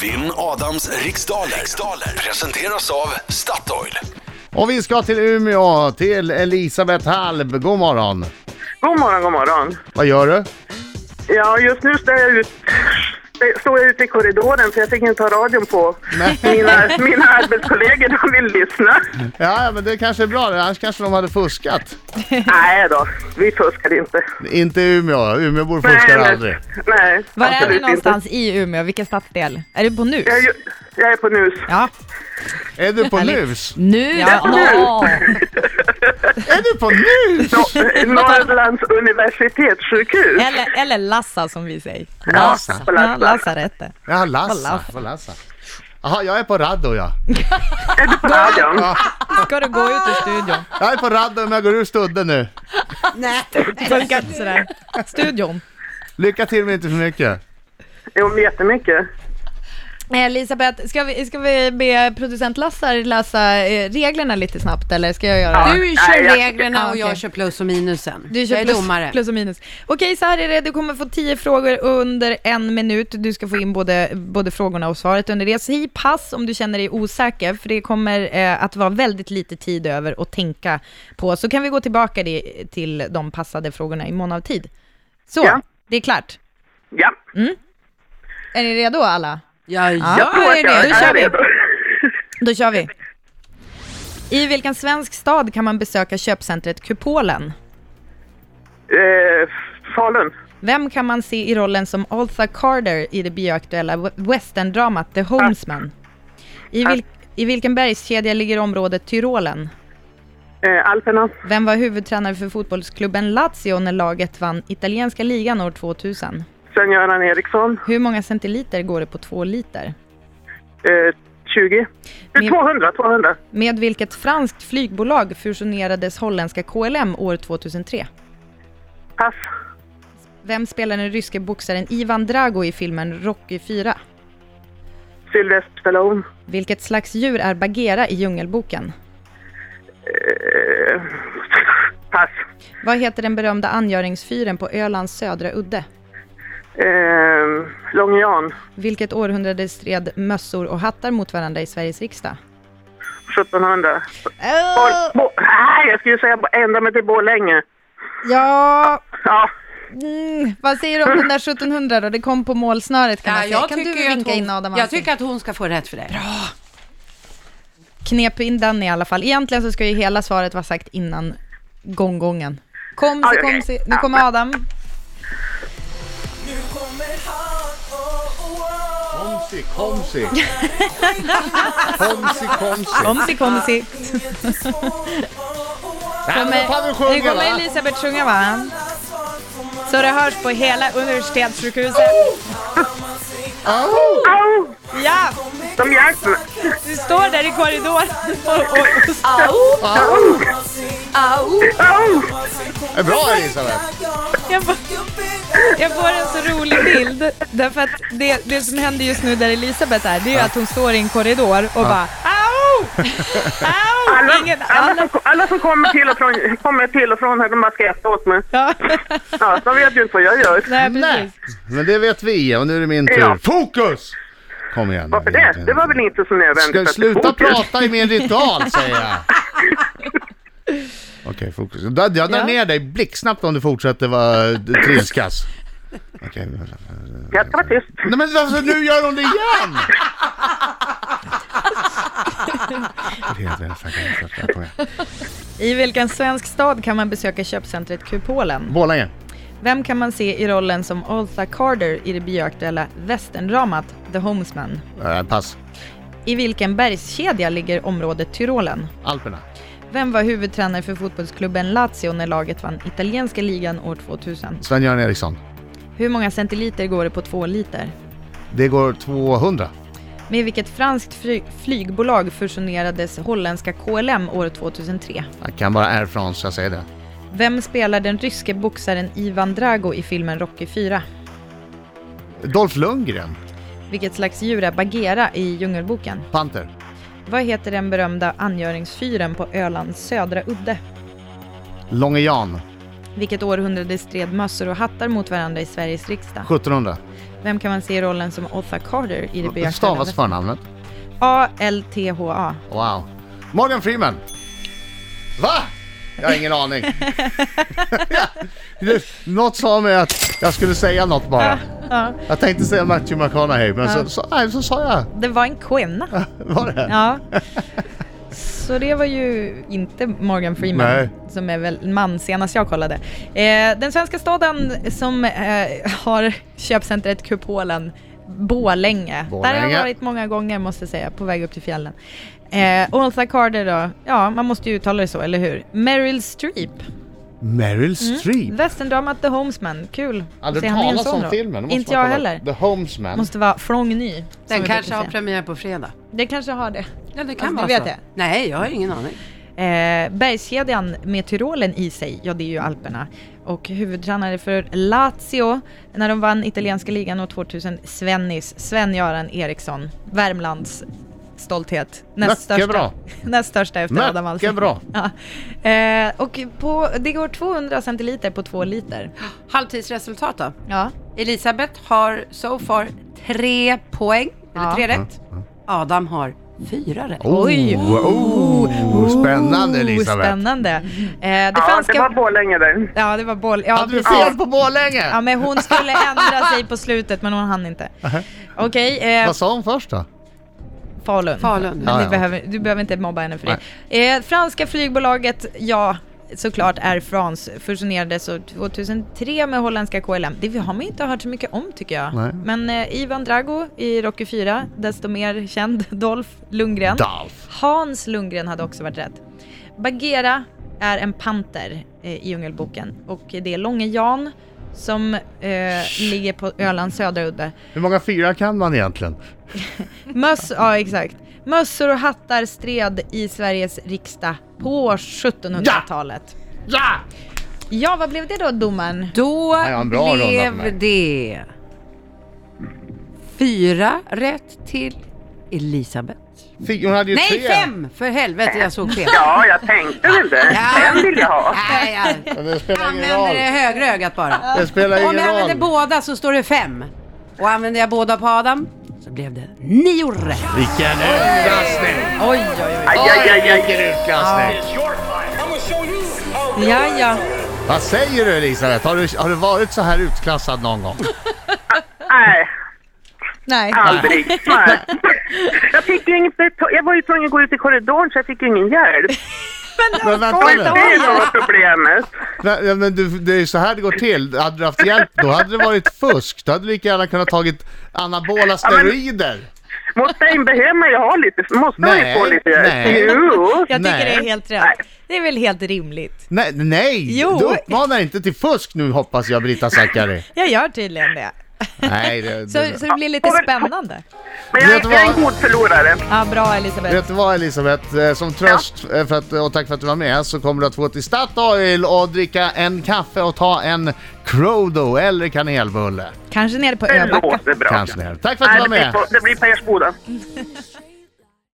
Vinn Adams riksdaler. riksdaler presenteras av Statoil. Och vi ska till Umeå, till Elisabeth Halb. God morgon! God morgon, god morgon. Vad gör du? Ja, just nu står jag, ut, står jag ute i korridoren för jag fick inte ha radion på. Mina, mina arbetskollegor de vill lyssna. Ja, men det kanske är bra. Annars kanske de hade fuskat. Nej då, vi fuskar inte. Inte Umeå. Umeåbor fuskar nej, aldrig. Nej, Var är absolut du inte. någonstans i Umeå? Vilken stadsdel? Är du på nu? Jag, är ju- jag är på NUS. Ja. Är du på Härligt. nus? Nu? Ja. Nå. Är du på nus? Nor- Norrlands universitetssjukhus. Eller, eller Lassa som vi säger. Lassa. Ja, lasarettet. Ja, Lassa. Lassa. På Lassa. Jaha, jag är på Raddo, ja. Är du på radion? Ska du gå ut ur studion? Jag är på Raddo, men jag går ur studden nu. Det funkar inte sådär. Studion. Lycka till, men inte för mycket. Jo, men jättemycket. Eh, Elisabeth, ska vi, ska vi be producent Lassar läsa eh, reglerna lite snabbt eller ska jag göra Ja, det? Du kör nej, jag- reglerna Ja, och jag okej. kör plus och minusen. Du kör jag är plus, domare. plus och minus. Okej, så här är det. Du kommer få tio frågor under en minut. Du ska få in både, både frågorna och svaret under det. Säg pass om du känner dig osäker, för det kommer eh, att vara väldigt lite tid över att tänka på. Så kan vi gå tillbaka det, till de passade frågorna i mån av tid. Så, Ja. det är klart. Ja, Är ni redo alla? Ja, Ja, ja. då är det. Då jag kör är vi. redo. Då kör vi. I vilken svensk stad kan man besöka köpcentret Kupolen? Eh, Falun. Vem kan man se i rollen som Altha Carter i det bioaktuella we- westerndramat The Homesman? I, vil- I vilken bergskedja ligger området Tyrolen? Eh, Alperna. Vem var huvudtränare för fotbollsklubben Lazio när laget vann italienska ligan år 2000? Sven-Göran Eriksson. Hur många centiliter går det på två liter? Eh, 20. Eh, Min- 200, 200. Med vilket franskt flygbolag fusionerades holländska KLM år 2003? Pass. Vem spelar den ryske boxaren Ivan Drago i filmen Rocky 4? Sylvester Stallone. Vilket slags djur är Bagheera i Djungelboken? Eh, pass. Vad heter den berömda angöringsfyren på Ölands södra udde? Eh, Lång Jan. Vilket århundrade stred mössor och hattar mot varandra i Sveriges riksdag? 1700. Oh. Bor- Bo- Nej, jag skulle säga ända mig till Borlänge. Ja, Ja, mm, vad säger du om den där 1700 då? Det kom på målsnöret kan Ja, man säga. jag, typ Kan du tycker ju att vinka hon, in Adam jag Alsing? tycker att hon ska få rätt för det. Knep in den i alla fall. Egentligen så ska ju hela svaret vara sagt innan gånggången. Kom, Oj, så okej. kom, så. Nu kommer Adam. Nu kommer han, oh, oh, oh. Komsi, komsi. Komsi, komsi. Komsi, komsi. nu får du sjunga, nu kommer va? Elisabeth sjunga va? Så det hörs på hela universitetssjukhuset. Au! Ja! de hjälper mig. Du står där i korridoren och, och, Au! Är bra, Elisabeth. jag, får, jag får en så rolig bild. Därför att det, det som händer just nu där Elisabeth är, det är ju att hon står i en korridor och bara Au! Alla, Au! Ingen, alla, alla, som, alla som kommer till och från, kommer till och från här, de bara skrattar åt mig. ja. Ja, de vet ju inte vad jag gör. Nej, Nej, precis. men det vet vi och nu är det min Ja. tur. Fokus! Kom igen. nu, Varför det? Det var väl inte så nödvändigt. Ska att du det sluta tog ju. prata i min ritual säger jag. Okej, fokus. Jag drar jag drar Ja. ner dig blixtsnabbt om du fortsätter vara eh, trilskas. Okej. Jag ska vara tyst. Nej men alltså, nu gör hon det igen! Det är det, snacka, snacka, kom igen. I vilken svensk stad kan man besöka köpcentret Kupolen? Borlänge. Vem kan man se i rollen som Altha Carter i det bioaktuella västerndramat The Homesman? Eh, pass. I vilken bergskedja ligger området Tyrolen? Alperna. Vem var huvudtränare för fotbollsklubben Lazio när laget vann italienska ligan år 2000? Sven-Göran Eriksson. Hur många centiliter går det på två liter? Det går 200. Med vilket franskt fly- flygbolag fusionerades holländska KLM år 2003? Jag kan bara Air France, jag säger det. Vem spelar den ryske boxaren Ivan Drago i filmen Rocky 4? Dolph Lundgren. Vilket slags djur är Bagheera i Djungelboken? Panter. Vad heter den berömda angöringsfyren på Ölands södra udde? Långe Jan. Vilket århundrade stred mössor och hattar mot varandra i Sveriges riksdag? 1700. Vem kan man se i rollen som Otha Carter i det Hur stavas bejaktade? förnamnet? A-L-T-H-A. Wow. Morgan Freeman. Va? Jag har ingen aning. Det- något sa mig att jag skulle säga något bara. Ja, Jag tänkte säga Matthew McConaughey, men så, så, nej, så sa jag. det var en kvinna. Var det? Ja. Så det var ju inte Morgan Freeman, Nej. som är väl man senast jag kollade. Eh, den svenska staden som eh, har köpcentret Kupolen, Borlänge. Där har Borlänge. jag varit många gånger måste jag säga, på väg upp till fjällen. Eh, Olsa Carter då, ja man måste ju uttala det så, eller hur? Meryl Streep, Meryl Streep. västerndramat The Homesman, kul. Aldrig Se Mm. han i en talas sån om roll. filmen. det måste Inte man jag kolla. heller. The Homesman. Måste vara från ny. som vi Den brukar kanske har säga. premiär på fredag. Det kanske har det. Ja, det kan Alltså, vara du vet så. det? Nej, jag har ingen aning. Eh, bergskedjan med Tyrolen i sig, ja det är ju Alperna. Och huvudtränare för Lazio när de vann italienska ligan år 2000, Svennis, Sven-Göran Eriksson, Värmlands stolthet. Näst Mycket största, bra. näst största efter Mycket Adam Alsing. bra. Ja. Eh, och på, det går 200 centiliter på två liter. Halvtidsresultat då? Ja. Elisabeth har so far tre poäng, eller Ja. tre rätt. Adam har fyra rätt. Oj. Mm. Oh, oh, oh, spännande Elisabeth. Spännande. Eh, det Ja, franska... det var Borlänge där. Ja, det var boll. Ja, Hade du precis. fel på Borlänge? Ja, men hon skulle ändra sig på slutet, men hon hann inte. Okej, eh, Vad sa hon först då? Falun. Falun. Men Ja, ni ja. behöver, du behöver inte mobba henne för det. Eh, franska flygbolaget, ja, såklart Air France, fusionerades år 2003 med holländska KLM. Det har man ju inte hört så mycket om tycker jag. Nej. Men eh, Ivan Drago i Rocky 4, desto mer känd, Dolph Lundgren. Dolph. Hans Lundgren hade också varit rätt. Bagheera är en panter eh, i Djungelboken och det är Långe Jan som eh, ligger på Ölands södra udde. Hur många fyra kan man egentligen? Möss, ja exakt. Mössor och hattar stred i Sveriges riksdag på 1700-talet. Ja! Ja, vad blev det då domaren? Då Ja, en bra runda för mig. blev det fyra rätt till Elisabeth. Fy, hon hade ju Nej, tre. fem! För helvete, jag såg fel. Ja, jag tänkte väl det. Ja. Den vill jag ha. Nej, jag Men det spelar ingen använder roll. det högra ögat bara. Det spelar Om ingen jag använder roll. båda så står det fem. Och använder jag båda på Adam så blev det nio rätt. Vilken utklassning! Oj, oj, oj. Aj, aj, aj, aj. Vilken utklassning! Ja, ja. Vad säger du Elisabeth? Har du, har du varit så här utklassad någon gång? Nej, Nej. aldrig. Nej. Jag, fick ju inte, ta- jag var ju tvungen att gå ut i korridoren så jag fick ju ingen hjälp. Men vänta Det nu. är ju något problemet. Nej, ja, men du, det är ju så här det går till. Hade du haft hjälp då hade det varit fusk. Då hade du lika gärna kunnat tagit anabola steroider. Mot dig behöver man ju ha lite, måste man ju Nej, få lite hjälp. nej. Jo. Jag tycker Nej. det är helt rätt. Det är väl helt rimligt. Nej, nej! Jo. Du uppmanar inte till fusk nu hoppas jag Brita Zackari. Jag gör tydligen det. Nej, det, Så, det, så det blir lite spännande. Men jag, Vet du jag är vad? en god förlorare. Ja, bra Elisabeth. Vet du vad Elisabeth, Eh, som tröst eh, för att, och tack för att du var med så kommer du att få till Statoil och dricka en kaffe och ta en Crodo eller kanelbulle. Kanske nere på Det Öbacka. låter bra. Kanske det. Tack för att du var Nej, det, blir med. på, det blir på Ersboda.